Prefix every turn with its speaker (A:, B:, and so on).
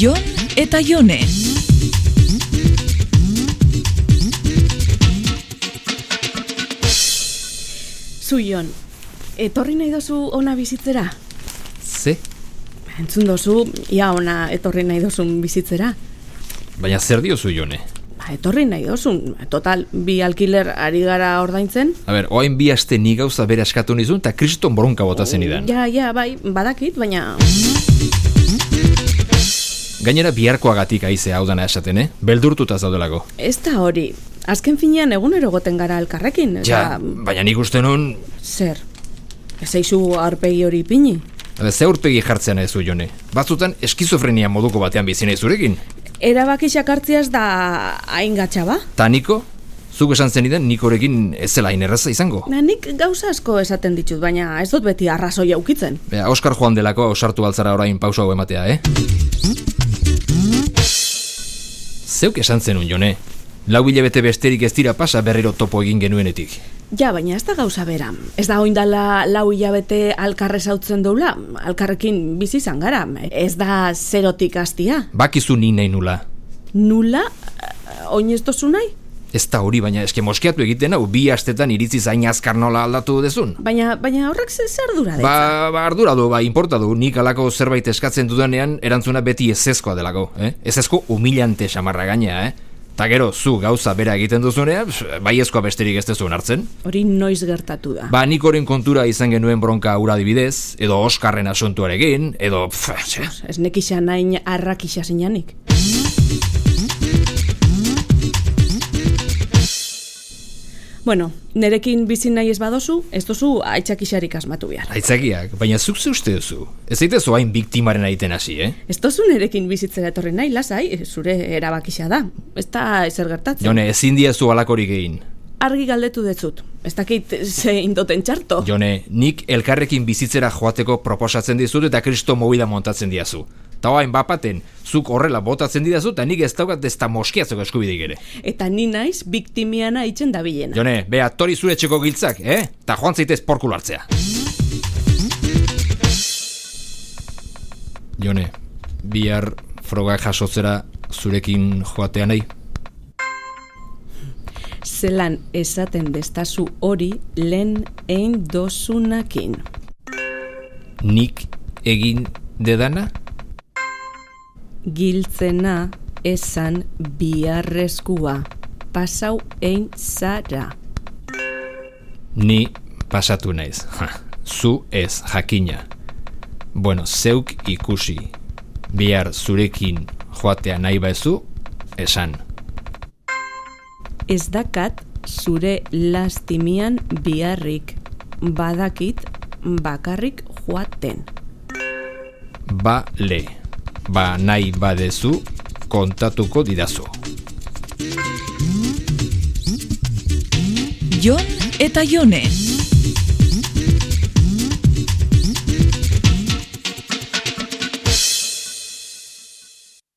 A: Jon eta Jone.
B: Zu Jon, etorri nahi dozu ona bizitzera?
C: Ze?
B: Entzun dozu, ia ona etorri nahi dozun bizitzera.
C: Baina zer diozu jone?
B: Ba, etorri nahi dozun, total, bi alkiler ari gara ordaintzen.
C: A ber, oain bi aste ni gauza bere eskatu nizun eta kriston bronka bota zen idan.
B: Ja, ja, bai, badakit, baina...
C: Gainera biharkoagatik aize hau dana esaten, eh? Beldurtuta zaudelako.
B: Ez da hori, azken finean egunero goten gara elkarrekin,
C: Ja,
B: eta...
C: baina nik uste nun...
B: Zer? Ez aizu aurpegi hori pini?
C: A ber, eh, ze aurpegi jartzen nahi zu jone? Batzutan eskizofrenia moduko batean bizi nahi zurekin.
B: Erabakisak hartzeaz da hain gatsa ba?
C: Ta niko? Zuk esan zenidan nikorekin ez zela hain erraza izango.
B: Na, nik gauza asko esaten ditut, baina ez dut beti arrazoi aukitzen.
C: Bea, Oskar joan delako osartu altzara orain pausa hau ematea, eh? Zeuk esan zenun, jone. Lau hilabete besterik ez dira pasa berriro topo egin genuenetik.
B: Ja, baina ez da gauza bera. Ez da oindala lau hilabete alkarre zautzen doula, alkarrekin bizi izan gara. Ez da zerotik hastia.
C: Bakizu ni nahi nula.
B: Nula, eh, oin ez dozu nahi?
C: Ez da hori, baina eske moskeatu egiten hau bi astetan iritzi zain azkar nola aldatu dezun.
B: Baina, baina horrek ze- zer dura dela?
C: Ba, ba ardura du, ba, importa du, nik alako zerbait eskatzen dudanean erantzuna beti ezezkoa delako, eh? Ezezko humilante samarra gaina, eh? Ta gero, zu gauza bera egiten duzunean, pf, bai ezkoa besterik ez dezun hartzen.
B: Hori noiz gertatu da.
C: Ba, nik horren kontura izan genuen bronka hura dibidez, edo Oskarren asuntuarekin, edo... Pf,
B: Ez nekisa nain arrakisa zinanik. Bueno, nerekin bizi nahi ez badozu, ez duzu aitzakixarik asmatu behar.
C: Aitzakiak, baina zuk ze uste duzu. Ez zaitezu hain biktimaren egiten hasi, eh?
B: Ez tozu nerekin bizitzera etorri nahi, lasai, eh, zure erabakisa da. Ez da ezer gertatzen.
C: Jone, ezin diezu alakorik egin.
B: Argi galdetu detzut. Ez dakit ze indoten txarto.
C: Jone, nik elkarrekin bizitzera joateko proposatzen dizut eta kristo mobila montatzen diazu. Ta hain bapaten, zuk horrela botatzen didazu eta nik ez daukat ez da moskeatzeko eskubidik ere.
B: Eta ni naiz biktimiana itzen dabilena.
C: Jone, bea, tori zure txeko giltzak, eh? Ta joan zaitez porku hartzea. Jone, bihar froga jasotzera zurekin joatea nahi?
B: Zelan esaten destazu hori lehen ein dozunakin.
C: Nik egin dedana?
B: Giltzena esan biharrezkoa. Pasau ein zara.
C: Ni pasatu naiz. Ja, Zu ez, jakina. Bueno, zeuk ikusi. Bihar zurekin joatea nahi baezu, esan.
B: Ez dakat zure lastimian biharrik. Badakit bakarrik joaten.
C: Ba le. Ba nahi badezu, kontatuko didazu.
A: Jon eta Jone.